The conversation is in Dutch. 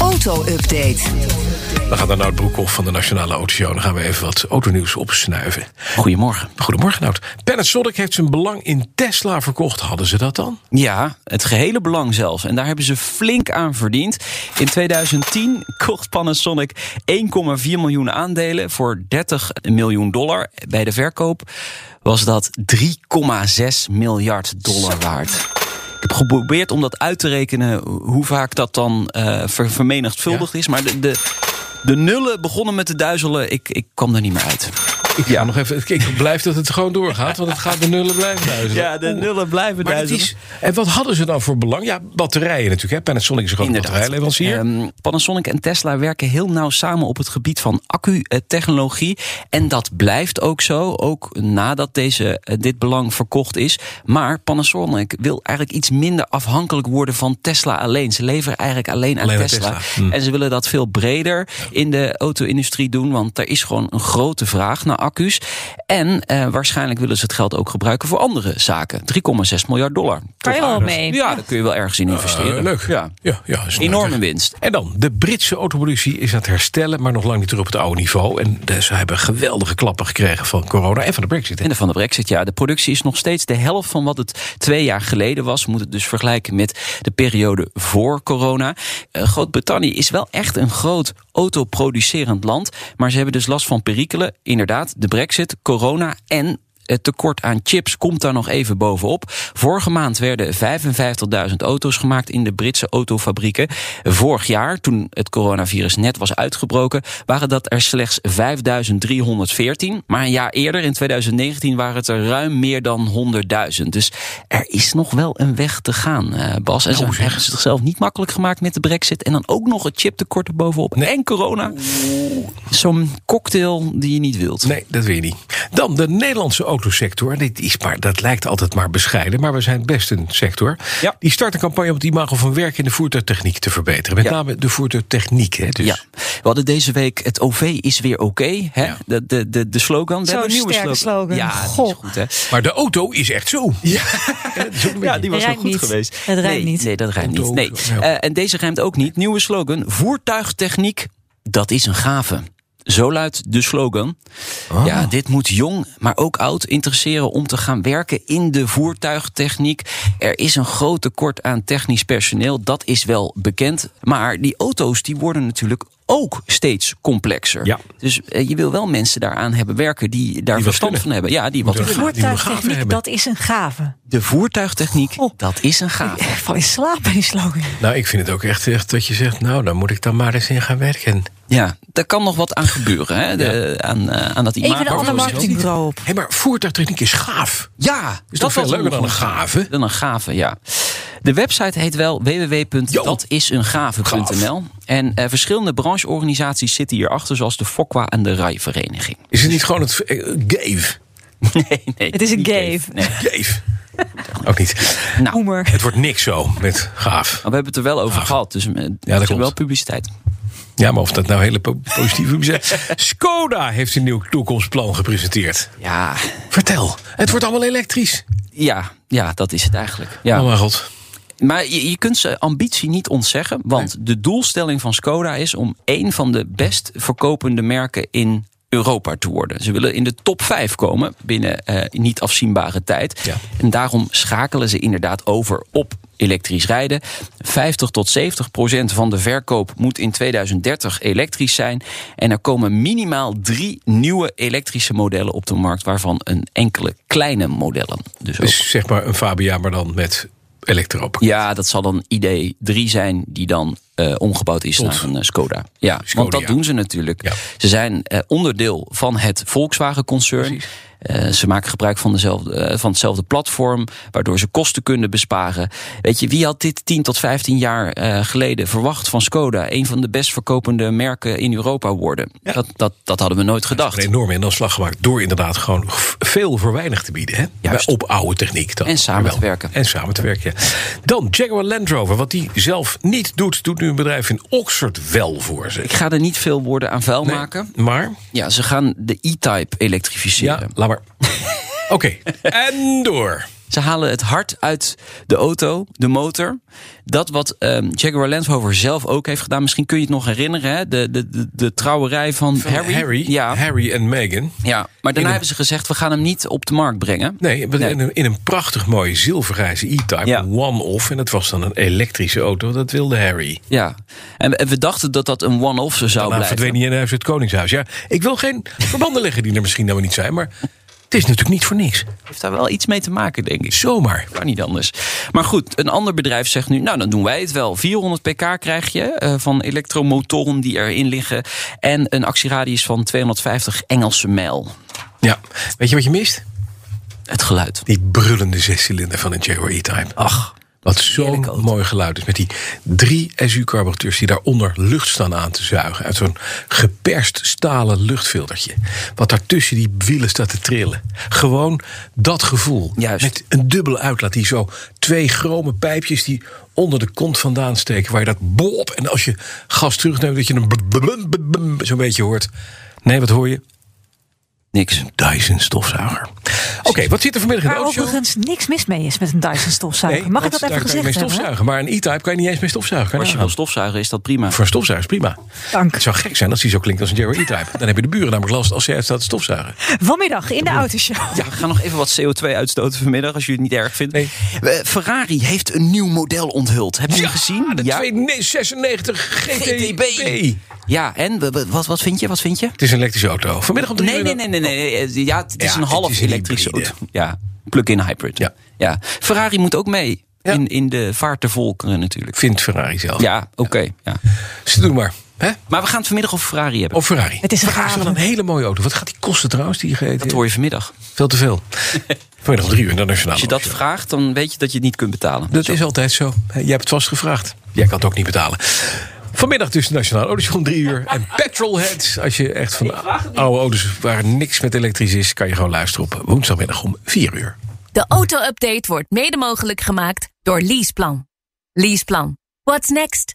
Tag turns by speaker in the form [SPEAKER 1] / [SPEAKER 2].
[SPEAKER 1] Auto-update.
[SPEAKER 2] We gaan naar Nout Broekhoff van de Nationale Autoshow. Dan gaan we even wat autonieuws opsnuiven.
[SPEAKER 3] Goedemorgen.
[SPEAKER 2] Goedemorgen, Nout. Panasonic heeft zijn belang in Tesla verkocht. Hadden ze dat dan?
[SPEAKER 3] Ja, het gehele belang zelfs. En daar hebben ze flink aan verdiend. In 2010 kocht Panasonic 1,4 miljoen aandelen voor 30 miljoen dollar. Bij de verkoop was dat 3,6 miljard dollar waard. Ik heb geprobeerd om dat uit te rekenen hoe vaak dat dan eh, ver- vermenigvuldigd is. Maar de, de, de nullen begonnen met de duizelen. Ik, ik kwam daar niet meer uit.
[SPEAKER 2] Ik ja, nog even. Ik blijf dat het gewoon doorgaat, want het gaat de nullen blijven duizenden.
[SPEAKER 3] Ja, de nullen blijven
[SPEAKER 2] Maar het
[SPEAKER 3] duizelen.
[SPEAKER 2] is, en wat hadden ze dan voor belang? Ja, batterijen natuurlijk. Hè? Panasonic is een grote batterijleverancier. Eh,
[SPEAKER 3] Ehm, Panasonic en Tesla werken heel nauw samen op het gebied van accu-technologie. En dat blijft ook zo, ook nadat deze, eh, dit belang verkocht is. Maar Panasonic wil eigenlijk iets minder afhankelijk worden van Tesla alleen. Ze leveren eigenlijk alleen aan
[SPEAKER 2] Alleen aan
[SPEAKER 3] Tesla.
[SPEAKER 2] Tesla. Hm.
[SPEAKER 3] En ze willen dat veel breder in de auto-industrie doen, want er is gewoon een grote vraag naar accu's. En eh, waarschijnlijk willen ze het geld ook gebruiken voor andere zaken. 3,6 miljard dollar.
[SPEAKER 4] Kan je wel
[SPEAKER 2] aardig.
[SPEAKER 4] mee?
[SPEAKER 3] Ja, daar kun je wel ergens in investeren.
[SPEAKER 2] Eh, leuk.
[SPEAKER 3] Ja.
[SPEAKER 2] ja, ja is
[SPEAKER 3] Enorme winst.
[SPEAKER 2] En dan, de Britse autoproductie is aan het herstellen, maar nog lang niet terug op het oude niveau. En eh, ze hebben geweldige klappen gekregen van corona en van de brexit. hè.
[SPEAKER 3] En van de brexit, ja. De productie is nog steeds de helft van wat het twee jaar geleden was. We moeten het dus vergelijken met de periode voor corona. Eh, Groot-Brittannië is wel echt een groot autoproducerend land. Maar ze hebben dus last van perikelen. Inderdaad, de brexit, corona en... Het tekort aan chips komt daar nog even bovenop. Vorige maand werden 55.000 auto's gemaakt in de Britse autofabrieken. Vorig jaar, toen het coronavirus net was uitgebroken, waren dat er slechts 5.314. Maar een jaar eerder, in 2019, waren het er ruim meer dan 100.000. Dus er is nog wel een weg te gaan, eh, Bas. En ze
[SPEAKER 2] zeg.
[SPEAKER 3] hebben ze zichzelf niet makkelijk gemaakt met de brexit. En dan ook nog het chiptekort erbovenop.
[SPEAKER 2] Nee.
[SPEAKER 3] En corona. Zo'n cocktail die je niet wilt.
[SPEAKER 2] Nee, dat weet je niet. Dan de Nederlandse autosector. Dit is maar, dat lijkt altijd maar bescheiden, maar we zijn best een sector.
[SPEAKER 3] Ja.
[SPEAKER 2] Die start een campagne om het imago van werk in de voertuigtechniek te verbeteren. Met
[SPEAKER 3] Ja.
[SPEAKER 2] name de voertuigtechniek. Hè, dus.
[SPEAKER 3] Ja, we hadden deze week het OV is weer oké. hè?
[SPEAKER 2] Ja.
[SPEAKER 3] de, de, de, de slogan. We
[SPEAKER 4] Zo'n
[SPEAKER 3] hebben een nieuwe
[SPEAKER 4] sterke slogan.
[SPEAKER 3] Ja, die
[SPEAKER 4] Goh.
[SPEAKER 3] is goed, hè?
[SPEAKER 2] Maar de auto is echt zo. Ja,
[SPEAKER 3] Ja, die was
[SPEAKER 4] Rijmt
[SPEAKER 3] nog goed
[SPEAKER 4] niet.
[SPEAKER 3] geweest.
[SPEAKER 4] Het rijmt
[SPEAKER 3] nee,
[SPEAKER 4] niet.
[SPEAKER 3] Nee, dat rijmt niet.
[SPEAKER 2] Auto,
[SPEAKER 3] Nee.
[SPEAKER 2] ja.
[SPEAKER 3] Eh, en deze rijmt ook niet. Nieuwe slogan. Voertuigtechniek, dat is een gave. Zo luidt de slogan.
[SPEAKER 2] Ah.
[SPEAKER 3] Ja, dit moet jong, maar ook oud interesseren om te gaan werken in de voertuigtechniek. Er is een groot tekort aan technisch personeel, dat is wel bekend. Maar die auto's die worden natuurlijk ook steeds complexer.
[SPEAKER 2] Ja.
[SPEAKER 3] Dus eh, je wil wel mensen daaraan hebben werken die daar
[SPEAKER 2] wat
[SPEAKER 3] verstand
[SPEAKER 2] kunnen.
[SPEAKER 3] van hebben. Ja, die wat
[SPEAKER 2] Moeten
[SPEAKER 3] kunnen.
[SPEAKER 2] gaven
[SPEAKER 4] Voertuigtechniek,
[SPEAKER 2] hebben.
[SPEAKER 4] dat is een gave.
[SPEAKER 3] De voertuigtechniek,
[SPEAKER 4] Oh.
[SPEAKER 3] dat is een gave.
[SPEAKER 4] Ik val in slaap bij die slogan.
[SPEAKER 2] Nou, ik vind het ook echt, echt dat je zegt, nou, dan moet ik dan maar eens in gaan werken.
[SPEAKER 3] Ja, daar kan nog wat aan gebeuren. Hè? De, aan, eh, aan dat imago.
[SPEAKER 4] Even een ander marketingbureau op.
[SPEAKER 2] Hé, maar voertuigtechniek is gaaf.
[SPEAKER 3] Ja,
[SPEAKER 2] Is toch veel
[SPEAKER 3] was
[SPEAKER 2] leuker dan een
[SPEAKER 3] nog
[SPEAKER 2] gave?
[SPEAKER 3] Dan een gave, ja. De website heet wel www.datiseengave.nl. En eh, verschillende brancheorganisaties zitten hierachter, zoals de FOQA en de RAI-vereniging.
[SPEAKER 2] Is het niet gewoon het eh, gave?
[SPEAKER 3] Nee, nee.
[SPEAKER 4] Het is een
[SPEAKER 3] niet
[SPEAKER 4] gave.
[SPEAKER 3] Nee.
[SPEAKER 2] Gave. Ook niet.
[SPEAKER 3] Nou, maar
[SPEAKER 4] Hoemer.
[SPEAKER 2] Het wordt niks zo met gaaf.
[SPEAKER 3] we hebben het er wel over gehad, dus eh, het is
[SPEAKER 2] klopt.
[SPEAKER 3] wel publiciteit.
[SPEAKER 2] Ja, maar of dat nou hele po- positieve is. hè? Skoda heeft een nieuw toekomstplan gepresenteerd.
[SPEAKER 3] Ja,
[SPEAKER 2] Vertel, het wordt allemaal elektrisch.
[SPEAKER 3] ja, ja, dat is het eigenlijk. Ja.
[SPEAKER 2] Oh mijn god.
[SPEAKER 3] Maar je, je kunt ze ambitie niet ontzeggen. Want de doelstelling van Skoda is om één van de best verkopende merken in Europa te worden. Ze willen in de top 5 komen binnen eh, niet afzienbare tijd.
[SPEAKER 2] Ja.
[SPEAKER 3] En daarom schakelen ze inderdaad over op elektrisch rijden. 50 tot 70 procent van de verkoop moet in 2030 elektrisch zijn. En er komen minimaal drie nieuwe elektrische modellen op de markt, waarvan een enkele kleine modellen. Dus ook
[SPEAKER 2] Dus zeg maar een Fabia, maar dan met elektro.
[SPEAKER 3] ja, dat zal dan ID3 zijn die dan eh, omgebouwd is
[SPEAKER 2] Tot.
[SPEAKER 3] naar een eh, Skoda. Ja,
[SPEAKER 2] Skoda,
[SPEAKER 3] want
[SPEAKER 2] ja.
[SPEAKER 3] dat doen ze natuurlijk.
[SPEAKER 2] Ja.
[SPEAKER 3] Ze zijn eh, onderdeel van het Volkswagen-concern.
[SPEAKER 2] Precies.
[SPEAKER 3] Eh, ze maken gebruik van, dezelfde, eh, van hetzelfde platform, waardoor ze kosten kunnen besparen. Weet je, wie had dit 10 tot 15 jaar eh, geleden verwacht van Skoda? Een van de best verkopende merken in Europa worden. Dat, dat, dat hadden we nooit
[SPEAKER 2] Een
[SPEAKER 3] gedacht.
[SPEAKER 2] enorme inslag gemaakt door inderdaad gewoon f- veel voor weinig te bieden. Hè?
[SPEAKER 3] Juist.
[SPEAKER 2] Bij- Op oude techniek dan.
[SPEAKER 3] En samen
[SPEAKER 2] Jawel.
[SPEAKER 3] te werken.
[SPEAKER 2] En samen te werken, ja. Dan Jaguar Land Rover. Wat die zelf niet doet, doet nu een bedrijf in Oxford wel voor ze.
[SPEAKER 3] Ik ga er niet veel woorden aan vuil
[SPEAKER 2] Nee,
[SPEAKER 3] maken.
[SPEAKER 2] Maar,
[SPEAKER 3] Ja, ze gaan de e-type
[SPEAKER 2] ja,
[SPEAKER 3] elektrificeren.
[SPEAKER 2] laat maar. Oké, en door.
[SPEAKER 3] Ze halen het hart uit de auto, de motor. Dat wat ehm, Jaguar Land Rover zelf ook heeft gedaan. Misschien kun je het nog herinneren. Hè? De, de, de, de trouwerij van, Harry. Ja,
[SPEAKER 2] Harry en Meghan.
[SPEAKER 3] ja, maar daarna
[SPEAKER 2] een-
[SPEAKER 3] hebben ze gezegd... we gaan hem niet op de markt brengen.
[SPEAKER 2] Nee, maar
[SPEAKER 3] Nee.
[SPEAKER 2] In, een, in een prachtig mooie zilvergrijze E-Type.
[SPEAKER 3] Ja.
[SPEAKER 2] One-off. En dat was dan een elektrische auto. Dat wilde Harry.
[SPEAKER 3] Ja. En, we- en we dachten dat dat een one-off zou
[SPEAKER 2] Daarna
[SPEAKER 3] blijven.
[SPEAKER 2] verdween hij in huis het Koningshuis. Ja, ik wil geen verbanden leggen die er misschien nou niet zijn. Maar het is natuurlijk niet voor niks.
[SPEAKER 3] heeft daar wel iets mee te maken, denk ik.
[SPEAKER 2] Zomaar.
[SPEAKER 3] Kan niet anders. Maar goed, een ander bedrijf zegt nu... nou, dan doen wij het wel. 400 pk krijg je eh, van elektromotoren die erin liggen... en een actieradius van 250 Engelse mijl.
[SPEAKER 2] Ja. Weet je wat je mist?
[SPEAKER 3] Het geluid.
[SPEAKER 2] Die brullende zescilinder van een Jaguar E-Type. Ach. Wat zo'n
[SPEAKER 3] heerlijke auto.
[SPEAKER 2] mooi geluid is. Met die drie SU-carburateurs die daaronder lucht staan aan te zuigen. Uit zo'n geperst stalen luchtfiltertje. Wat daartussen die wielen staat te trillen. Gewoon dat gevoel.
[SPEAKER 3] Juist.
[SPEAKER 2] Met een dubbele uitlaat. Die zo twee chrome pijpjes die onder de kont vandaan steken. Waar je dat boop. En als je gas terugneemt dat je een blub, blub, blub, blub zo'n beetje hoort. Nee, wat hoor je?
[SPEAKER 3] Niks.
[SPEAKER 2] Dyson stofzuiger. Oké, wat zit er vanmiddag in de
[SPEAKER 4] Waar
[SPEAKER 2] auto?
[SPEAKER 4] overigens niks mis mee is met een Dyson stofzuiger.
[SPEAKER 2] Nee,
[SPEAKER 4] Mag ik
[SPEAKER 2] want
[SPEAKER 4] dat
[SPEAKER 2] daar
[SPEAKER 4] even
[SPEAKER 2] kan je mee
[SPEAKER 4] gezegd hebben?
[SPEAKER 2] stofzuigen. Maar een E-Type kan je niet eens mee stofzuigen.
[SPEAKER 3] Als je
[SPEAKER 2] Nou,
[SPEAKER 3] wil stofzuigen is dat prima.
[SPEAKER 2] Voor een stofzuiger is prima.
[SPEAKER 4] Dank.
[SPEAKER 2] Het zou gek zijn als die zo klinkt als een Jaguar E-Type. Dan heb je de buren namelijk last als jij staat te stofzuigen.
[SPEAKER 4] Vanmiddag in de autoshow.
[SPEAKER 3] Ja, ga nog even wat CO2 uitstoten vanmiddag als je het niet erg vindt.
[SPEAKER 2] Nee.
[SPEAKER 3] Eh, Ferrari heeft een nieuw model onthuld. Heb je hem gezien?
[SPEAKER 2] De 296 GTB.
[SPEAKER 3] GTB. Ja, en W- w- wat, wat vind je? Wat vind je?
[SPEAKER 2] Het is een elektrische auto. Vanmiddag om drie
[SPEAKER 3] Nee,
[SPEAKER 2] uur
[SPEAKER 3] nee,
[SPEAKER 2] dan-
[SPEAKER 3] nee, nee, nee. Eh, Ja, het is
[SPEAKER 2] Ja,
[SPEAKER 3] een
[SPEAKER 2] het
[SPEAKER 3] half
[SPEAKER 2] is een
[SPEAKER 3] elektrische
[SPEAKER 2] hybride.
[SPEAKER 3] auto. Ja, plug-in hybrid.
[SPEAKER 2] Ja.
[SPEAKER 3] Ferrari moet ook mee
[SPEAKER 2] Ja.
[SPEAKER 3] in, in de vaart der volkeren natuurlijk.
[SPEAKER 2] Vindt Ferrari zelf.
[SPEAKER 3] Ja, oké. ja.
[SPEAKER 2] Ze doen maar. Hè?
[SPEAKER 3] Maar we gaan het vanmiddag over Ferrari hebben.
[SPEAKER 2] Of Ferrari.
[SPEAKER 4] Het is
[SPEAKER 2] Ferrari is wel een
[SPEAKER 4] raar.
[SPEAKER 2] hele mooie auto. Wat gaat die kosten trouwens, die GTB?
[SPEAKER 3] dat hoor je vanmiddag.
[SPEAKER 2] Veel te veel. Vanmiddag om drie uur internationaal.
[SPEAKER 3] Als je dat vraagt, dan weet je dat je het niet kunt betalen.
[SPEAKER 2] Oh, Dat is altijd zo. Jij hebt het vast gevraagd. Jij kan het ook niet betalen. Vanmiddag dus Nationaal Autoshow om drie uur. En Petrolheads, als je echt van oude auto's waar niks met elektrisch is... kan je gewoon luisteren op woensdagmiddag om vier uur.
[SPEAKER 1] De auto-update wordt mede mogelijk gemaakt door Leaseplan. Leaseplan. What's next?